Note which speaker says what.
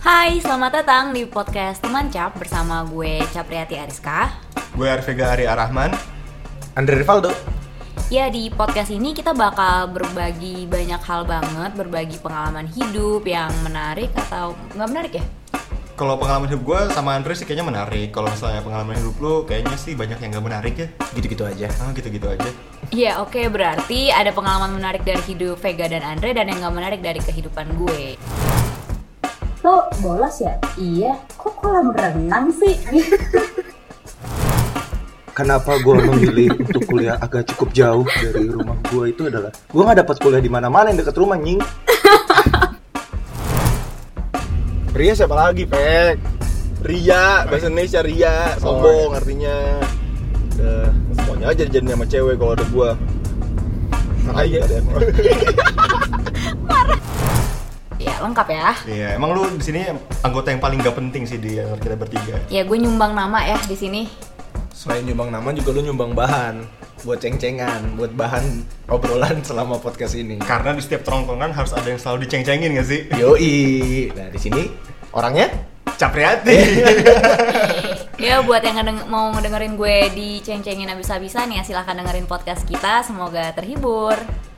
Speaker 1: Hai, selamat datang di podcast Teman Cap bersama gue Capriati Ariska.
Speaker 2: Gue Arvega Arya Rahman.
Speaker 3: Andre Rivaldo.
Speaker 1: Ya di podcast ini kita bakal berbagi banyak hal banget, berbagi pengalaman hidup yang menarik atau nggak menarik ya?
Speaker 2: Kalau pengalaman hidup gue sama Andre sih kayaknya menarik. Kalau misalnya pengalaman hidup lo kayaknya sih banyak yang gak menarik ya.
Speaker 3: Gitu-gitu aja.
Speaker 2: Ah gitu-gitu aja.
Speaker 1: Iya oke berarti ada pengalaman menarik dari hidup Vega dan Andre dan yang nggak menarik dari kehidupan gue.
Speaker 4: lo bolos ya? Iya, kok kolam renang sih?
Speaker 3: Kenapa gue memilih untuk kuliah agak cukup jauh dari rumah gue itu adalah gue nggak dapat kuliah di mana-mana yang dekat rumah nying.
Speaker 5: Ria siapa lagi, Pek? Ria, bahasa Indonesia Ria, sombong artinya. Udah, semuanya aja jadi sama cewek kalau ada gua. Iya. Makanya ada yang
Speaker 1: Ya lengkap ya.
Speaker 2: Iya, emang lu di sini anggota yang paling gak penting sih di antara kita bertiga.
Speaker 1: Ya gue nyumbang nama ya di sini.
Speaker 3: Selain nyumbang nama juga lu nyumbang bahan buat ceng-cengan, buat bahan obrolan selama podcast ini.
Speaker 2: Karena di setiap tongkrongan harus ada yang selalu diceng-cengin gak sih?
Speaker 3: Yoi. Nah di sini orangnya
Speaker 2: Capriati.
Speaker 1: Ya buat yang ngedeng- mau ngedengerin gue diceng-cengin abis-abisan ya silahkan dengerin podcast kita. Semoga terhibur.